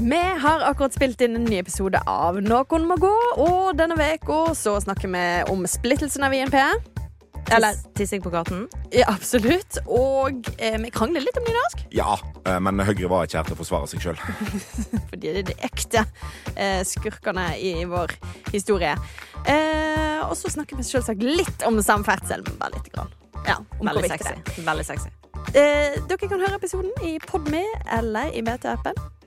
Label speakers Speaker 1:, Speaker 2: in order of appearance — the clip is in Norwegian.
Speaker 1: Vi har akkurat spilt inn en ny episode av Noen må gå, og denne veka så snakker vi om splittelsen av INP. Eller
Speaker 2: Tissing på gaten.
Speaker 1: ja, absolutt. Og eh, vi krangler litt om nynorsk,
Speaker 3: Ja, eh, men Høyre var ikke her til å forsvare seg sjøl.
Speaker 1: fordi det er de ekte eh, skurkene i vår historie. Eh, og så snakker vi selvsagt litt om samferdsel, men bare lite grann. Ja, om hvor
Speaker 2: Veldig
Speaker 1: viktig det
Speaker 2: sexy. Veldig sexy.
Speaker 1: er. Eh, dere kan høre episoden i Podme eller i BT-appen.